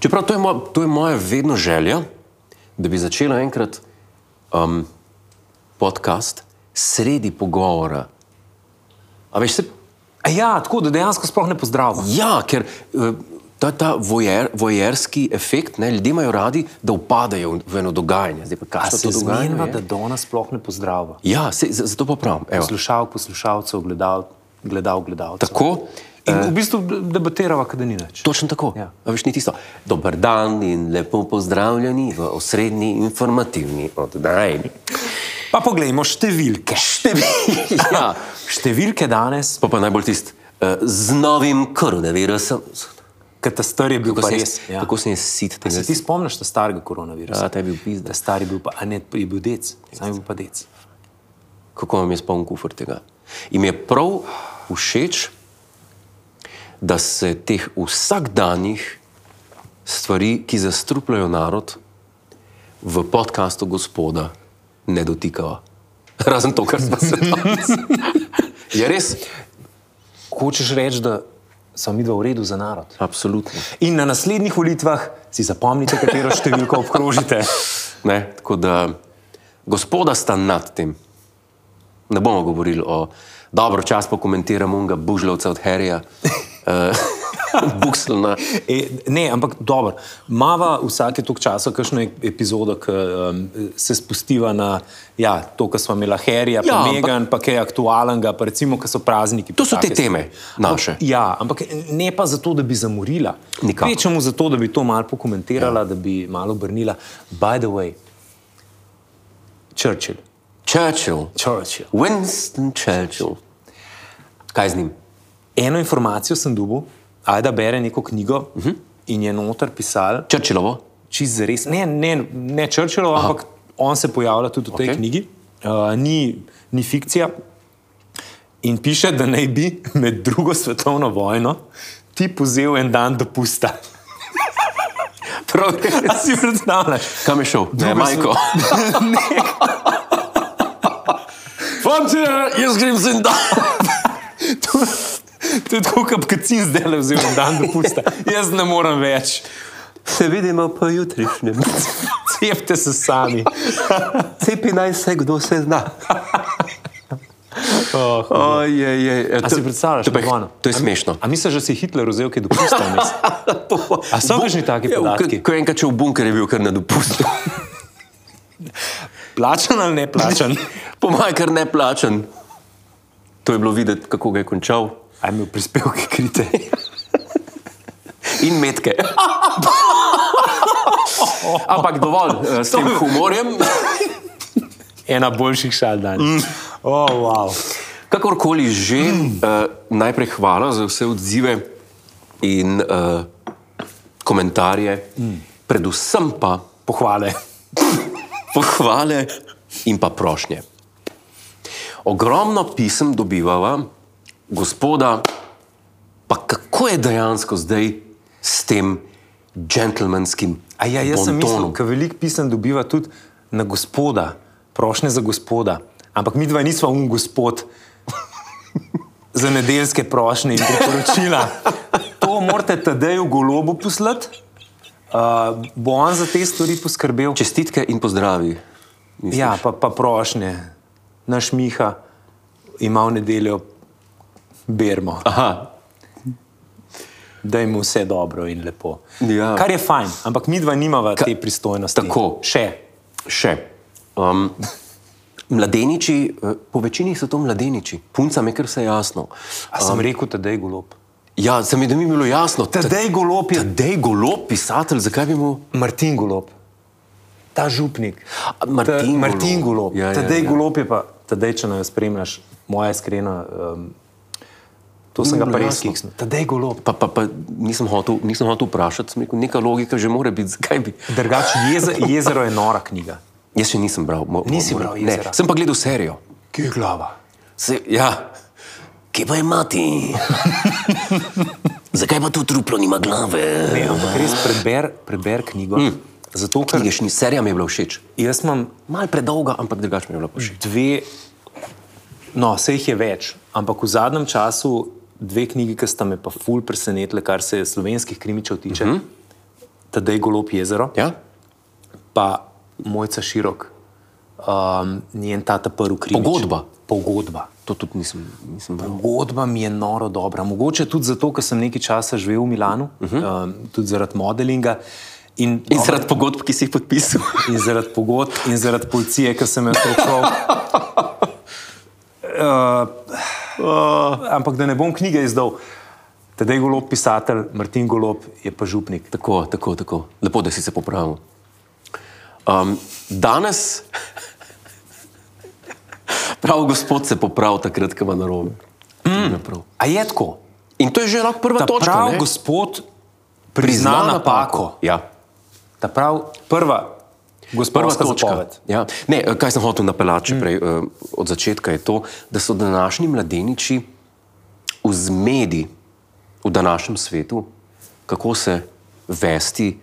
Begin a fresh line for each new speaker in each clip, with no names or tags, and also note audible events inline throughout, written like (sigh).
Čeprav to je, moja, to je moja vedno želja, da bi začela enkrat um, podcast sredi pogovora. A veš, se,
A Ja, tako da dejansko sploh ne pozdravljam.
ja, ker eh, ta, ta vojer, vojerski efekt, ne, ljudje imajo radi, da upadajo v eno dogajanje. Zdaj, pa,
A
kaj
Ja, se
se to dogaja?
zmenjava, da Dona sploh ne pozdravlja.
Ja, se, z- zato pa pravim.
Ja.
evo.
Poslušalk, poslušalcev, gledal, gledal, gledalcev.
Tako, eh,
In v bistvu debatirava, kada ni nič.
Točno tako.
Ja.
Ja. Veš, ni tisto. Dober dan in lepo pozdravljeni v osrednji informativni oddaji. (laughs)
Pa poglejmo številke.
Ja.
Številke danes,
Pa pa najbolj tisti eh, z novim koronavirusom.
katastar je bil
Kako
pa
sem
res.
jaz-
Ja.
Kako sem jaz sit
A
tega?
Se ti spomniš ta starega koronavirusa?
Ja, ta je bil pizda.
Ta stari bil pa, a ne, je bil dec, sam je bil pa dec.
Kako vam je spomnil kufr tega? Im je prav všeč, da se teh vsakdanjih stvari, ki zastrupljajo narod, v podkastu gospoda ne dotikava. (laughs) Razen to, kar smo se
(laughs)
danes. Je res?
Hočeš reči, da sem videl v redu za narod.
Absolutno.
In na naslednjih volitvah si zapomnite, katero številko (laughs) obkrožite.
Ne? Tako da gospoda sta nad tem. Ne bomo govorili o dobro čas, pa komentiramo unga bužljevca od Harryja, uh, (laughs) Buxlona.
E, ne, ampak dobro. Mava vsake toliko časa kakšno ep- epizodo, ki um, se spustiva na ja, to, kar smo imeli,
Ja,
Herja, ja, pa
ampak-
Megan, pa kaj aktualnega, pa recimo, ki so prazniki.
To so
pa
te
take
teme naše.
Ja, ampak ne pa zato, da bi zamorila.
Nikakor.
Kvečemu zato, da bi to malo pokomentirala, ja. da bi malo obrnila. By the way, Churchill.
Churchill,
Churchill.
Winston Churchill. Kaj z njim?
Eno informacijo sem dobil, ajda bere neko knjigo uh
Mhm.
-huh. in je noter pisal,
Churchillovo?
čist za res. Ne, ne, ne Churchillov, ampak on se pojavlja tudi v tej okay.
Okej.
knjigi, uh, ni, ni fikcija. In piše, da naj bi med drugo svetovno vojno ti pozel en dan dopusta. (laughs)
Prav, (laughs)
A si predstavljaš?
kam je šel? Ne,
Drugo so-
Majko. (laughs) Fanti, jaz grem zindan.
To je tako, kot kacin zdaj le vzel en dan dopusta. Jaz ne morem več.
Se vidimo po jutrišnjem.
Cepte se sami.
Cepi naj se, kdo se zna.
(laughs) Oh,
Ojej,
(laughs) A si predstavljaš,
to, pa je-
Bogdan?
to je smešno.
A misliš, da si Hitler vzel kaj dopusta? (laughs) vmes? A so
Bu-
kakšni taki
Ja, v-
podatki?
Ko je enkrat šel v bunker, je bil kar na
(laughs)
dopustu.
Plačan ali ne plačan? (laughs)
Pomaj kar neplačen. To je bilo videti, kako ga je končal.
A je imel prispevke krite?
(laughs) In metke. Ampak dovolj eh, s tem humorjem.
(laughs) (laughs) Ena boljših šal danes. Mm. Oh, wow.
Kakorkoli že,
Hmm.
eh, najprej hvala za vse odzive in eh, komentarje,
Hmm.
predvsem pa
Pohvale.
pohvale in pa prošnje. Ogromno pisem dobivava, gospoda, pa kako je dejansko zdaj s tem gentlemanskim
A ja, jaz sem mislil,
bontonom?
da veliko pisem dobiva tudi na gospoda, prošnje za gospoda. Ampak mi dva nisva um (laughs) gospod za nedeljske prošnje in priporočila. To morate tedaj v golobu poslati. Uh, bo on za te stvari poskrbel?
Čestitke in pozdravi.
Ja, pa, pa prošnje. Naš Miha ima v nedeljo Bermo.
Aha,
da jim vse dobro in lepo.
Ja.
Kar je fajn, ampak mi dva nimava Ka te pristojnosti.
tako.
Še.
še. Um, mladeniči, eh, po večini so to mladiči, puncam je kar vse jasno.
A sem um, rekel, da je golob.
Ja, se mi da mi bilo jasno, da
Tadej golob je
je golo pisatelj, zakaj bi mu.
Martin golob, ta župnik.
A, Martin
Ta- Martin
Golob.
golob.
Ja, ja,
Tadej
ja.
golob je pa, tadej, če nas spremljaš, moja iskrena. Um, To
Ni
sem ga
bilo
pa res
jasno.
kiksnil. Tadej golob.
Pa, pa, pa nisem hotel, nisem hotel vprašati, sem rekel, neka logika že mora biti, zakaj bi.
Drugač, jeze, jezero je nora knjiga.
Jaz še nisem bral. Mo, mo-
Nisi
moram-
bral
ne,
Jezera?
sem pa gledal serijo.
Kje je glava?
Se, ja. Kje pa je mati?
(laughs)
zakaj pa to truplo nima glave?
Ne, ampak res preber, preber knjigo. Mm. Zato, ker
Knjige, šni, serija mi je bila všeč.
jaz imam
Mal predolga, ampak drugače mi je bila všeč.
dve, no, vse jih je več, ampak v zadnjem času dve knjigi, ki sta me pa ful presenetile, kar se slovenskih krimičev tiče. Uh -huh. Tadej Golop jezero,
Mhm. Ja?
pa Mojca Širok, um, njen tata prvi krimič.
Pogodba.
Pogodba.
To tudi nisem, nisem bral.
Pogodba mi je noro dobra. Mogoče tudi zato, ker sem nekaj časa živel v Milanu, uh -huh. um, tudi zaradi modelinga. In,
Mhm. In zaradi pogodb, ki si jih podpisal.
in zaradi pogodb, in zaradi policije, ki sem jo srečal.
Eh,
Uh, ampak da ne bom knjige izdal, tedaj golob pisatelj, Martin Golob je pa župnik.
Tako, tako, tako. Lepo, da si se popravil. Um, danes, (laughs) prav gospod se popravi takrat, ko ima narobe. Mm.
A je tako?
In to je že lahko prva
Ta
točka.
prav
ne?
gospod prizna, prizna napako.
Ja.
Ta prav prva, gospod
Prva točka.
Zapoved.
Ja. Ne, eh, kaj sem hotel napeljati mm. prej, eh, od začetka je to, da so današnji mladeniči v zmedi v današnjem svetu, kako se vesti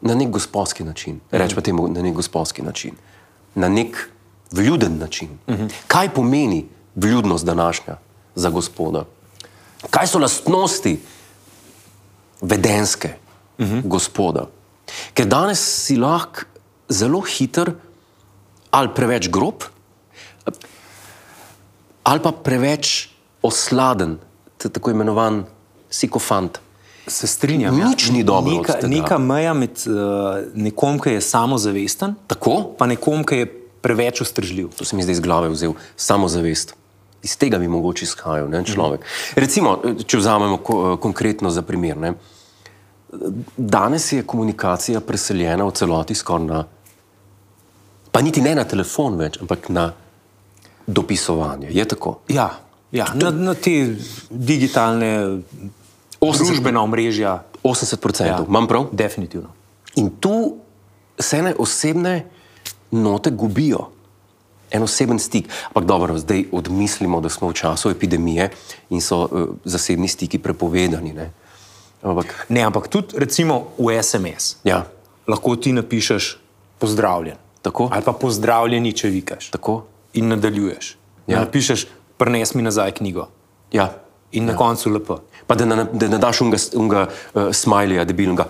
na nek gospodski način. Rečemo temu na nek gospodski način, na nek vljuden način. Kaj pomeni vljudnost današnja za gospoda? Kaj so lastnosti vedenske gospoda? Ker danes si lahko zelo hiter ali preveč grob, ali pa preveč osladen, t- tako imenovan psikofant.
Se strinjam. ja.
Nič ni dobro od
Neka,
tega.
neka meja med uh, nekom, ki je samozavesten,
Tako?
pa nekom, ki je preveč ustržljiv.
To se mi zdaj iz glave vzel, samozavest. Iz tega bi mogoče izhajal ne, človek. Recimo, če vzamemo ko, konkretno za primer. Ne, danes je komunikacija preseljena v celoti skoraj na, pa niti ne na telefon več, ampak na dopisovanje. Je tako?
Ja, ja na, na te digitalne,
80
družbena omrežja,
80%,
Ja.
ja. imam prav?
definitivno.
In tu se ene osebne note gubijo, en oseben stik. Ampak dobro, zdaj odmislimo, da smo v času epidemije in so uh, zasebni stiki prepovedani. Ne? Ampak,
Ne, ampak tudi recimo v SMS.
ja,
Lahko ti napišeš pozdravljen.
Tako.
Ali pa pozdravljeni, če vikaš.
tako.
In nadaljuješ.
Ja.
Ja. Napišeš, prnes mi nazaj knjigo.
Ja.
In ja. na koncu lepo.
Pa da ne, da ne daš unga, unga uh, smajlija, debilnega.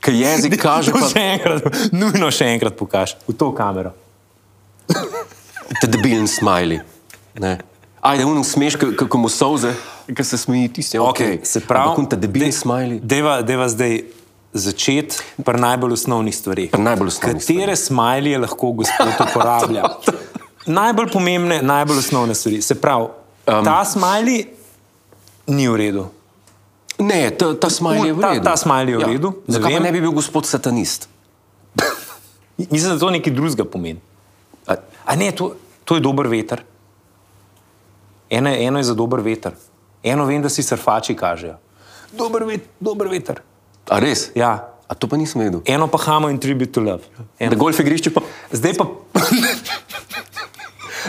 Ker jezik kaže,
To
pa
še enkrat, nujno še enkrat pokaž v to kamero.
te debilni smajli. ne. Ajde, unum smeš, kako mu solze, ker se smeji tisti. Okay.
Okej, se pravi,
Ampak unum te debilni
dej-
smajli.
Deva, deva zdaj začeti pri najbolj osnovnih stvareh.
Pri najbolj osnovnih
Katere smajlije lahko gospod uporablja? najbolj pomembne, najbolj osnovne stvari. Se pravi, um, ta smajli ni v redu.
Ne, ta, ta smajl je v
Ta-
redu.
ta smajl je v redu,
Ja. Zakaj pa
vem.
ne bi bil gospod satanist?
Mislim, da to nekaj drugega pomeni.
A,
A ne, to, to je dober veter. Eno, je- eno je za dober veter, eno vem, da si srfači kažejo. Dober, vet, dober veter.
a res?
Ja.
A to pa nisem vedel.
Eno pa hamo in tribute to love. Eno.
Na golf igrišču pa.
Zdaj pa.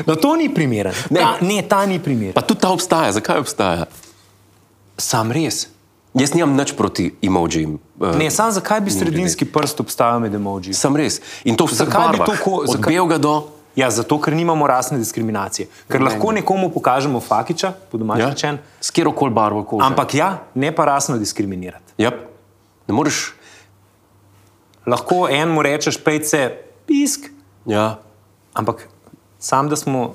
No, to ni primeren.
Ne.
Ne, ta, ne, ta ni primeren.
Pa tudi ta obstaja, zakaj obstaja?
Sam res.
Jaz nimam nič proti emojijem. eh,
Ne, sam zakaj bi sredinski prst obstajal med emoji?
Sam res. In to vse
Zakaj bi
barva.
to ko-
Od
zakaj-
belega do.
Ja, zato, ker nimamo rasne diskriminacije. Ker lahko nekomu pokažemo fakiča, po domačem
Ja,
rečen,
s kjer koli barvo kože.
ampak ja, ne pa rasno diskriminirati.
Yep. Ne moreš.
Lahko enemu rečeš, pejce, pisk,
Ja.
ampak sam, da smo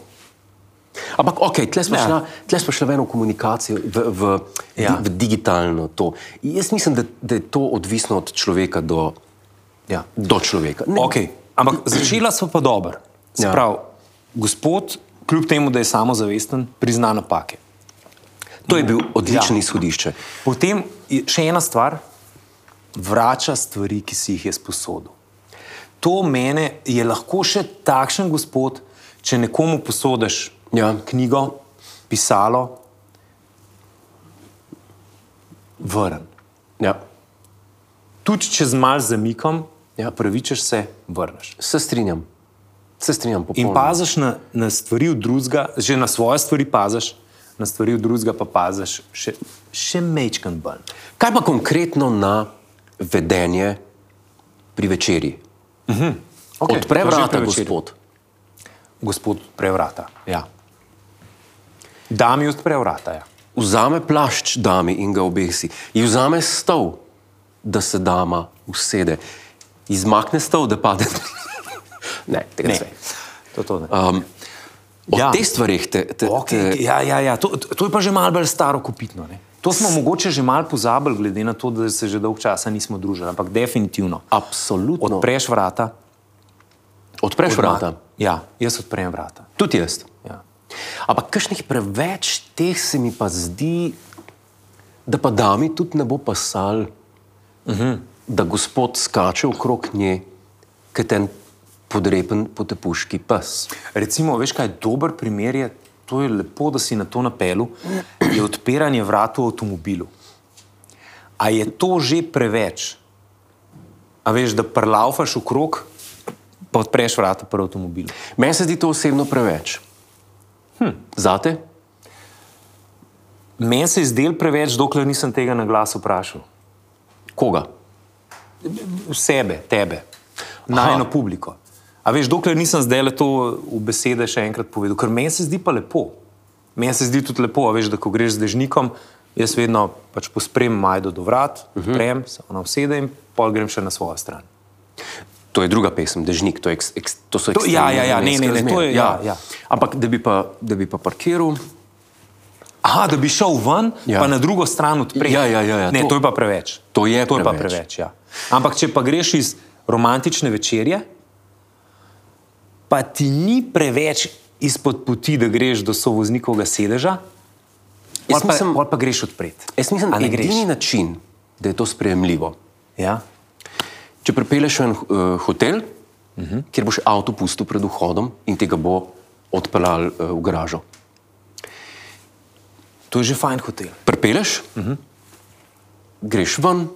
Ampak, ok, tle smo,
Ja.
šla, tle smo šla v eno komunikacijo, v, v, ja.
Ja.
di, v digitalno to. Jaz mislim, da, da je to odvisno od človeka do,
ja,
do človeka. Ne,
Okay, ampak začela smo pa dobro. Se
Ja.
pravi, gospod, kljub temu, da je samozavesten, prizna napake.
To je bil odličen
Ja.
ja. izhodišče.
Potem je še ena stvar, vrača stvari, ki si jih je sposodil. To mene je lahko še takšen gospod, če nekomu posodiš
Ja.
knjigo, pisalo, vrn.
Ja.
Tudi če z malce zamikom,
Ja.
ja. pravičeš se, vrneš.
Se strinjam, se strinjam
In
popolnoma.
paziš na, na stvari od drugega, že na svoje stvari paziš, na stvari od drugega pa paziš še, še mečken bolj.
Kaj pa konkretno na vedenje pri večerji.
Okej,
Odpre
to že
vrata,
pri večerji.
gospod.
Gospod prevrata.
Ja.
Dami od prevrata. Ja.
Vzame plašč dami in ga obesi, ji vzame stol, da se dama usede, izmakne stol, da pade. (laughs) ne, tega ne.
Ne. To, to ne.
Um, o ja.
Ja.
teh stvareh te, te,
Okay,
te,
ja, ja, ja. To, to to je pa že malo bolj staro kopitno. Ne? To smo mogoče že malo pozabili, glede na to, da se že dolgo časa nismo družili, ampak definitivno.
No. absolutno
Odpreš vrata.
odpreš
odma-
vrata.
Ja, jaz odprem vrata.
Tudi jaz.
Ja.
Ampak kakšnih preveč teh se mi pa zdi, da pa dami tudi ne bo pasal, uh
Mhm.
-huh. da gospod skače okrog nje, kot en podrepen potepuški pes.
Recimo, veš kaj, dober primer je, to je lepo, da si na to napelu, je odpiranje vrat v avtomobilu. A je to že preveč? A veš, da prlaufaš v krog, pa odpreš vrata pri avtomobilu.
Meni se zdi to osebno preveč. Hm. Zate?
Meni se je zdel preveč, dokler nisem tega na glas vprašal.
Koga?
Sebe, tebe, najno
Aha.
publiko. A veš, dokler nisem zdaj le to v besede še enkrat povedal, ker meni se zdi pa lepo. Meni se zdi tudi lepo, a veš, da ko greš z dežnikom, jaz vedno pač pospremim majdo do vrat, odprem, uh -huh. se ona usede in pol grem še na svojo stran.
To je druga pesem, Dežnik, to, je eks, eks, to so
To- ja, ja, ja, ne, ne, ne,
ekstremne
to je- ja,
razmere.
ja.
Ampak da bi pa, da bi pa parkiral,
Aha, da bi šel ven, ja.
Ja.
pa na drugo stran odprem.
Ja, ja, ja, ja,
ne, to,
to-
to je pa preveč.
To je
to je pa
preveč.
preveč ja. Ampak, če pa greš iz romantične večerje, pa ti ni preveč izpod poti, da greš do sovoznikovega sedeža,
Jaz
ali pa,
mislim-
ali pa greš odpret.
jaz mislim, da
A
je
ne greš?
edini način, da je to sprejemljivo.
Ja.
Če pripelješ v en uh, hotel, uh
Mhm.
-huh. kjer boš avto pustil pred vhodom in ti ga bo odpeljal uh, v garažo.
To je že fajn hotel.
Pripelješ, uh
Mhm.
-huh. greš ven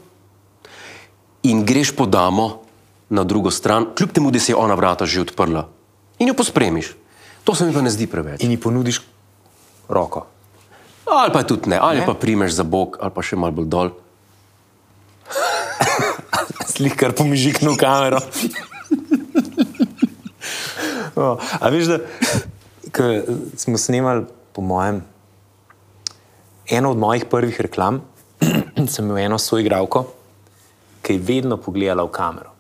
in greš po damo na drugo stran, kljub temu, da si je ona vrata že odprla in jo pospremiš. To se mi pa ne zdi preveč.
In ji ponudiš roko.
Ali pa tudi ne, ali
Ne?
ne? pa primeš za bok, ali pa še malo bolj dol.
Slikar pomižiknil kamero. O, A veš, da ke smo snemali, po mojem, eno od mojih prvih reklam, (clears throat) sem imel eno soigralko, ki je vedno pogledala v kamero.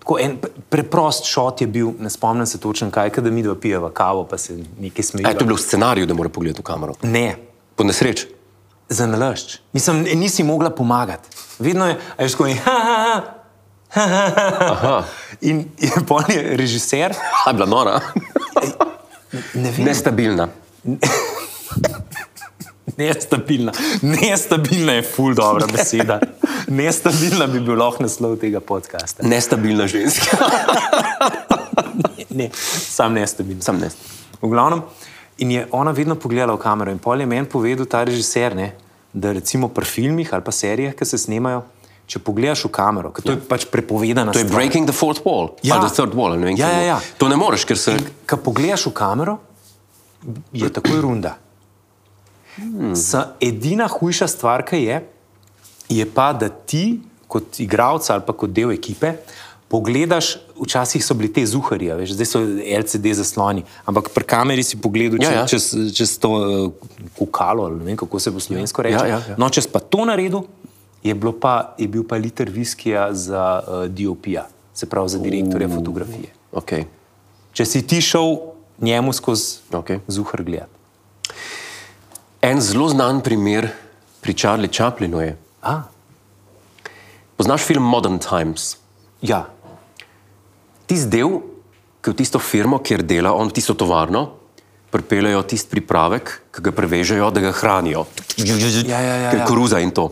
Tako en pre- preprost šot je bil, ne spomnim se točno kaj, ke da mi dva pijeva kavo, pa se nekaj
A je to
smejiva.
bilo v scenariju, da mora pogledati v kamero?
Ne,
Po nesreč.
za nalašč. Mislim, nisi mogla pomagati. Vedno je, a je škoda, ha, ha, ha, ha, ha, ha. In je (laughs) pol je režiser,
A je bila nora,
ne vem,
nestabilna.
nestabilna. Nestabilna je ful dobra
(laughs)
beseda. Nestabilna bi bil lahko naslov tega podcasta.
Nestabilna ženska.
Ne, sam nestabilna.
Sam ne.
V glavnem, in je ona vedno pogledala v kamero. In pol je meni povedal ta režiser, ne, da recimo pri filmih ali pa serijah, ki se snemajo, če pogledaš v kamero, ker to je pač prepovedana
Ja. To je breaking the fourth wall.
Ja.
Ja, the third wall. ali Ne vem,
Ja,
kaj
ja,
bo.
ja.
To ne moreš, ker se.
Ko pogledaš v kamero, je takoj runda. Sa, edina hujša stvar, ki je, je pa, da ti, kot igralec ali pa kot del ekipe, pogledaš, včasih so bili te zuharji, a veš, zdaj so LCD zasloni, ampak pri kameri si pogledal
Ja,
ja,
ja.
ja. Čez, čez to eh, kukalo, ali ne vem, kako se po slovensko reče.
Ja, ja, ja.
No, čez pa to naredil, je, bilo pa, je bil pa liter viskija za uh, Diopija, se pravi za direktorja uh. fotografije.
Okay.
Če si ti šel njemu skozi
Okay.
zuhr gledati.
En zelo znan primer pri Charlie Chaplinu je.
A,
Poznaš film Modern Times?
ja,
Tisti del, ki v tisto firmo, kjer dela on, v tisto tovarno, pripeljejo tisti pripravek, ki ga prevežejo, da ga hranijo.
Ja, ja, ja,
Ker
ja.
koruza in to.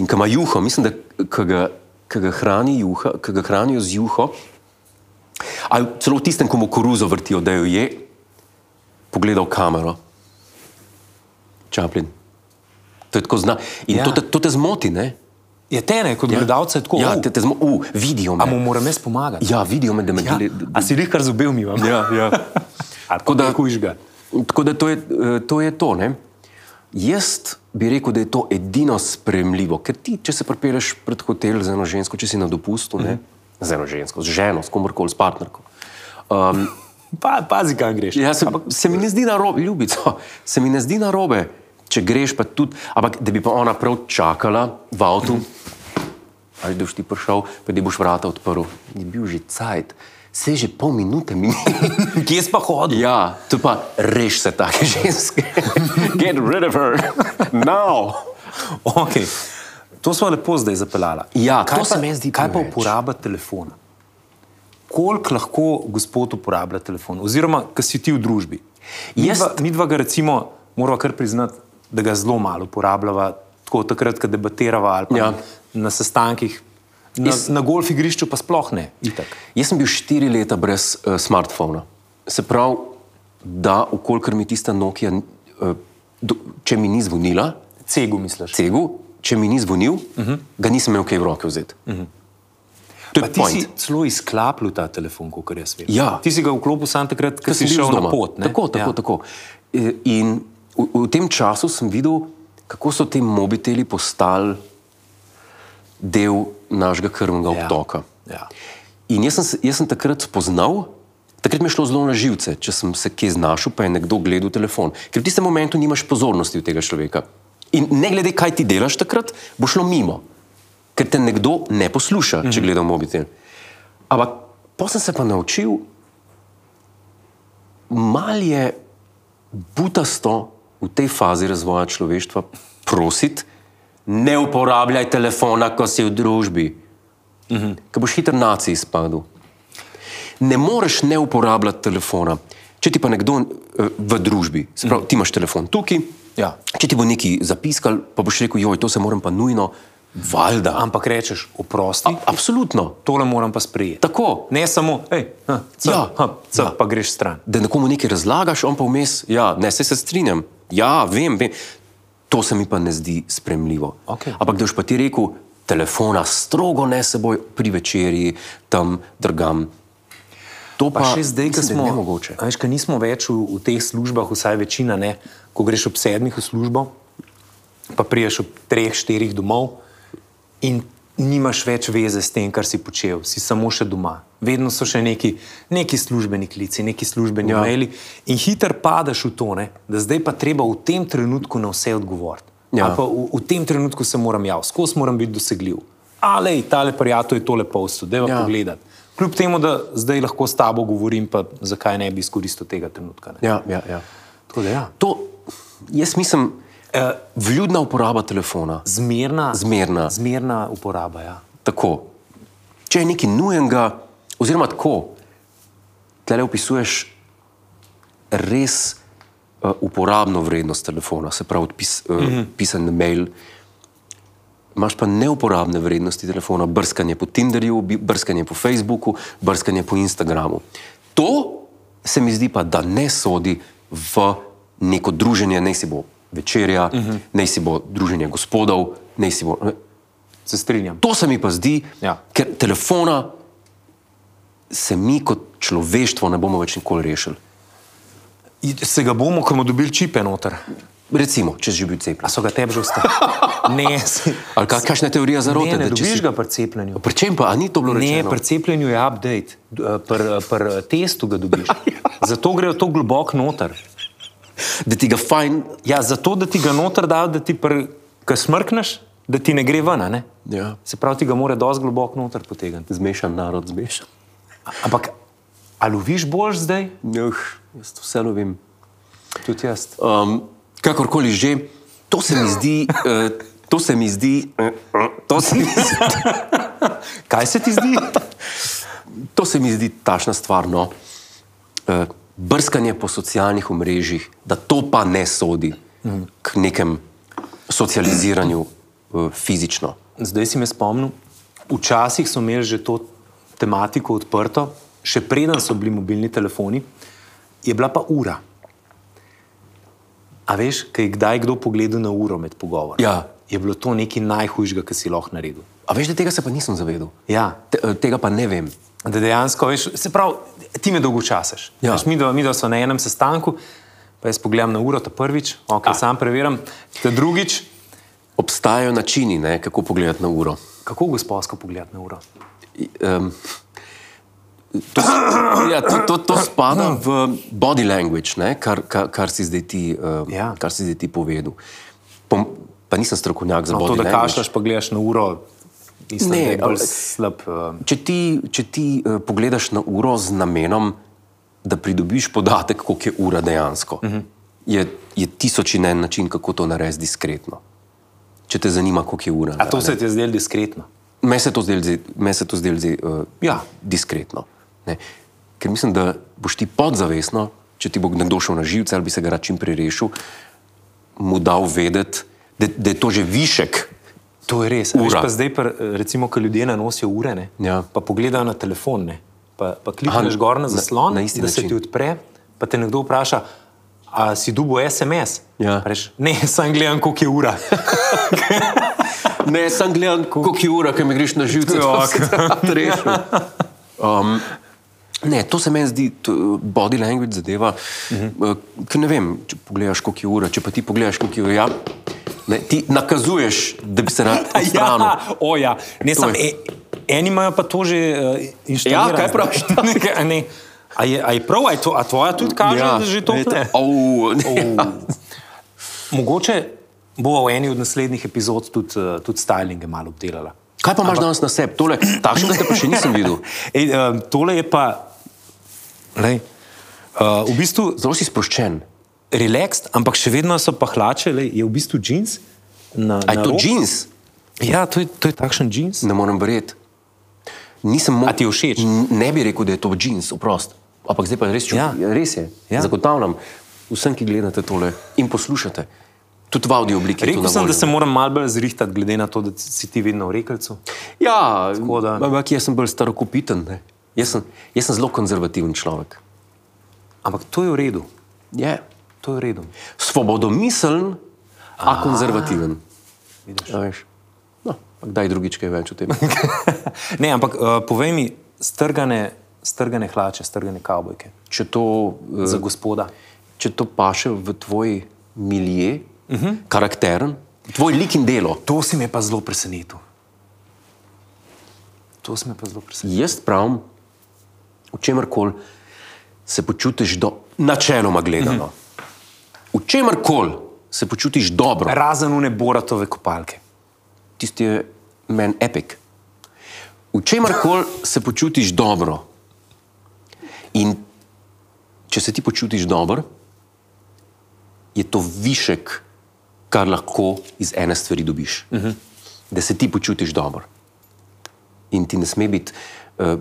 In ki ima juho, mislim, da ki ga, ki ga, hrani juha, ki ga hranijo z juho, ali celo v tistem, ko mu koruzo vrtijo, da jo je, pogleda v kamero. Čaplin. To je tako zna. In
Ja.
ja. to, te, to te zmoti, ne?
je te ne, kot ja. gledalce, tako
Ja,
"U,
te, te zmo, u, vidijo me.
A mu moram jaz pomagati?
Ja, vidijo me, da me
Ja.
gledajo.
A si jih kar zubel mi vam?
Ja, ja.
Tako
da-
da kuš ga.
Tako da to je eh, to. Je to ne? Jaz bi rekel, da je to edino spremljivo, ker ti, če se pripelješ pred hotel z eno žensko, če si na dopustu, ne, z eno žensko, z ženo, s komorkoli, s partnerko. Um,
Pa, pazi, kam greš.
Ja, se, se mi ne zdi narobe, ljubico, se mi ne zdi narobe, če greš pa tudi, ampak da bi pa ona prav čakala v avtu, ali da boš ti prišel, pa da ji boš vrata odprl. Je bil že cajt, se je že pol minute (laughs) minilo.
Kje si pa hodil?
Ja, tu pa reš se take (laughs) ženske. Get rid of her, now.
Okay. To smo lepo zdaj zapeljali.
Ja,
kaj
to
pa,
se meni zdi
Kaj pa
preveč.
uporaba telefona? Koliko lahko gospod uporablja telefon, oziroma kaj si ti v družbi?
Jaz-
Midva- midva ga recimo, moramo kar priznati, da ga zelo malo uporabljava, tako takrat, ko debatirava ali pa
Ja.
ja. na sestankih. Na,
Jaz-
na golf igrišču pa sploh ne. Itak.
Jaz sem bil štiri leta brez uh, smartfona. Se pravi, da ukolikor mi tista Nokia, uh, do, če mi ni zvonila,
Cegu misliš.
cegu, če mi ni zvonil, uh
Mhm.
-huh. ga nisem imel kaj v roke vzeti. Uh -huh. To
Pa
je
ti
point.
si celo izklapljal ta telefon, kot jaz vem.
Ja.
Ti si ga vklopil sam takrat, ko
Ker
si
sem bil
šel
z
na
doma.
pot. ne?
Tako, tako, ja. tako. E, In v, v tem času sem videl, kako so ti mobiteli postali del našega krvnega
Ja.
obtoka.
Ja.
In jaz sem, se- jaz sem takrat spoznal, takrat mi je šlo zelo na živce, če sem se kje znašel, pa je nekdo gledal telefon. Ker v tistem momentu nimaš pozornosti od tega človeka. In ne glede, kaj ti delaš takrat, bo šlo mimo, ker te nekdo ne posluša, če gleda v mobitel. Ampak pa sem se pa naučil, mal je butasto v tej fazi razvoja človeštva prositi, ne uporabljaj telefona, ko si v družbi ki boš hitro naci izpadel. Ne moreš ne uporabljati telefona. Če ti pa nekdo eh, v družbi, se pravi, ti imaš telefon tukaj,
Ja.
če ti bo neki zapiskal, pa boš rekel, joj, to se moram pa nujno, valjda.
Ampak rečeš, oprosti,
A- Absolutno,
tole moram pa sprejeti.
tako.
Ne samo, hej, ha, c,
Ja.
ja. ha, c, ja. pa greš stran.
Da nekomu nekaj razlagaš, on pa vmes, ja, ne, saj se strinjam, ja, vem, vem. To se mi pa ne zdi spremljivo.
Okej.
Ampak da boš pa ti rekel, telefona strogo ne s seboj pri večerji, tam drgam. To pa,
Pa, pa še zdaj, ko
mislim, da
smo,
je nemogoče.
a veš, ko nismo več v, v teh službah, vsaj večina ne, ko greš ob sedmih v službo, pa priješ ob treh, štirih domov in nimaš več veze s tem, kar si počel, si samo še doma. Vedno so še neki, neki službeni klici, neki službeni
Ja.
ja. maili in hitro padeš v to, ne, da zdaj pa treba v tem trenutku na vse odgovoriti.
Ja.
Ja. Pa v, v tem trenutku se moram javiti, skozi moram biti dosegljiv. Ale, tale prijatelj je tole posod, da
Ja.
ja. pogledati. Kljub temu, da zdaj lahko s tabo govorim, pa zakaj ne bi izkoristil tega trenutka. Ne?
Ja, ja, ja.
Tako da, ja.
To, jaz mislim,
Eh,
vljudna uporaba telefona.
Zmerna,
Zmerna.
zmerna uporaba. Ja.
Tako. Če je nekaj nujenega, oziroma tako, tle opisuješ res uh, uporabno vrednost telefona, se pravi, odpis, uh, mm -hmm. pisan mail. Imáš pa neuporabne vrednosti telefona, brskanje po Tinderju, bi- brskanje po Facebooku, brskanje po Instagramu. To se mi zdi pa, da ne sodi v neko druženje, naj si bo večerja, mm -hmm. naj si bo druženje gospodov, naj si bo.
Se strinjam.
To se mi pa zdi, ja.
Ja.
ker telefona se mi kot človeštvo ne bomo več nikoli rešili.
In Se ga bomo, ko bomo dobili čipe noter.
Recimo, če si že bil
A
cepljen.
so ga tebi že (laughs) ostali? ne, si,
Ali kaj, kakšna je teorija zarote?
ne, ne
da če
dobiš
si-
si... no. ga pri cepljenju.
Pri čem pa, a ni to bilo
Ne,
rečeno?
pri cepljenju je update, eh, pri pr testu ga (laughs) dobiš. Zato grejo to globoko noter.
Da ti ga fajn.
Ja, zato, da ti ga noter dajo, da ti, pr- ko smrkneš, da ti ne gre ven. a Ne?
Ja.
Se pravi, ti ga mora dosti globoko noter potegniti.
Zmešan narod, zmešan.
Ampak, ali loviš boljš zdaj?
Juh, jaz to vseeno vem.
Tudi jaz.
Um, kakorkoli že, to se mi zdi. Uh, To se mi zdi, eh, eh, to se mi zdi,
Kaj se ti zdi?
to se mi zdi tašna stvar. No. Eh, Brskanje po socialnih omrežjih, da to pa ne sodi k nekem socializiranju eh, fizično.
(laughs) Zdaj si me spomnil, včasih so imeli že to tematiko odprto, še preden so bili mobilni telefoni, je bila pa ura. A veš, kaj je kdaj kdo pogledal na uro med pogovorom?
Ja.
Je bilo to nekaj najhujšega, kar si lahko naredil.
A veš, da tega se pa nisem zavedal,
Ja,
Te, eh, tega pa ne vem.
Da dejansko veš, se pravi, ti me dolgočasiš.
Ja.
Ja. Mi dva sva na enem sestanku, pa Pa jaz pogledam na uro, ta prvič, okay, sam preverjam, ta drugič,
Obstajajo načini, ne, kako pogledati na uro.
kako gospodsko pogledati na uro.
Um, to, s- ja, to, to, to spada v body language, ne, kar, kar, kar, si zdaj ti, um,
Ja.
ja. kar si zdaj ti povedal. Pom, pa nisem strokovnjak za no,
To,
body
da
language.
kašljaš, pa gledaš na uro, mislim,
Ne,
ne, da je bolj
ampak-
slab. eh,
Če ti, če ti uh, pogledaš na uro z namenom, da pridobiš podatek, koliko je ura dejansko,
Mhm.
uh -huh. je, je tisoč in en način, kako to narediti diskretno. Če te zanima, koliko je ura.
A to se ti je zdelo diskretno?
Meni se to zdel, zdaj- meni se to zdel zdaj, uh, ja, diskretno. Ne? Ker mislim, da boš ti podzavestno, če ti bo nekdo šel na živce ali bi se ga rad čim prej rešil, mu dal vedeti, da, da je to že višek.
To je res. a Veš,
Ura.
pa zdaj, pa, eh, recimo, ko ljudje ne nosijo ure, ne,
Ja.
pa pogledajo na telefon, ne, pa, pa klikneš Aha, gor na
na-
zaslon,
na isti
da se
način.
ti odpre, pa te nekdo vpraša. A si dubo SMS?
Ja.
Pa Reš, ne, (laughs) sam gledam, koliko je ura.
Ne, sem gledal, koliko je ura, ki mi greš na živce,
Ja,
da se tam rešil. Um, ne, to se meni zdi to, body language zadeva.
Mhm.
Uh -huh. Ker ne vem, če pogledaš, koliko je ura, če pa ti pogledaš, koliko je ura, ja, ne, ti nakazuješ, da bi se rad odstranil.
(laughs) ja, o, ja. Ne, sam,
je.
e, eni imajo pa to že uh, inštalirano.
Ja, kaj praviš?
Nekaj, a (laughs) ne. A je, a je prav, a, je to, a tvoja tudi kaže, ja, da že to
ne.
pne?
Oh, ne.
Ja. Mogoče bo v eni od naslednjih epizod tudi, eh, tudi stylinge malo obdelala.
Kaj pa imaš danes na sebi? Tole, takšnega te pa še nisem videl.
Ej, em, tole je pa lej, uh, v bistvu
Zelo si sproščen.
relaxed, ampak še vedno so pa hlače, lej, je v bistvu jeans. Na,
A je
na
to
rob.
jeans? Hm,
Ja, to je, to je takšen jeans.
Ne morem verjeti. Nisem mogel.
A ti je všeč?
Ne bi rekel, da je to jeans, oprost. Ampak zdaj pa res, ču,
Ja.
ja. res je.
Ja.
Ja. Zagotavljam vsem, ki gledate tole in poslušate. Tudi v audio obliki. je to
Rekel
na
sem,
voljo.
da se moram malo bolj zrihtati, glede na to, da si ti vedno v rekelcu.
Ja,
da-
ampak jaz sem bolj starokopiten. ne. Jaz sem, jaz sem zelo konzervativen človek.
Ampak to je v redu,
Je.
to je v redu. (laughs)
Svobodomiseln, a konzervativen. A veš. No, pa kdaj drugič kaj več o tem?
ne, ampak uh, povej mi, strgane, strgane hlače, strgane kavbojke
Če to eh,
za gospoda.
če to paše v tvoj milje, uh -huh. karakteren, tvoj lik in delo.
To si me pa zelo presenetil. To si me pa zelo presenetil.
Jaz pravim, v čemer koli se počutiš, do, načeloma gledano, uh -huh. v čemer koli se počutiš dobro,
Razen une boratove kopalke.
tisti je meni epik. V čemer koli se počutiš dobro. In če se ti počutiš dobro, je to višek, kar lahko iz ene stvari dobiš. Uh -huh. Da se ti počutiš dobro. In ti ne sme biti uh,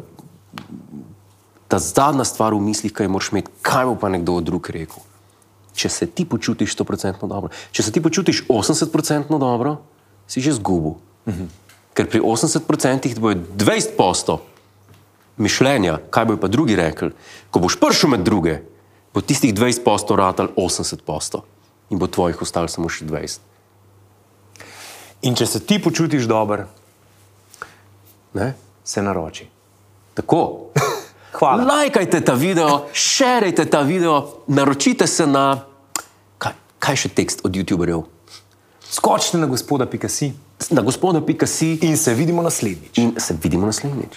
ta zadnja stvar v mislih, kaj moraš imeti, kaj bo pa nekdo drug rekel. Če se ti počutiš 100% dobro, če se ti počutiš 80% dobro, si že zgubil. Mhm. Ker pri 80% ti bojo 20% mišljenja, kaj bojo pa drugi rekli. Ko boš prišel med druge, bo tistih 20% ratal 80% in bo tvojih ostalo samo še 20%.
In če se ti počutiš dobro,
Ne?
se naroči.
Tako.
Hvala.
Lajkajte ta video, širite ta video, naročite se na. Kaj, kaj še tekst od YouTuberjev?
Skočite na gospoda.si
Na gospoda.si
in se vidimo naslednjič.
in se vidimo naslednjič.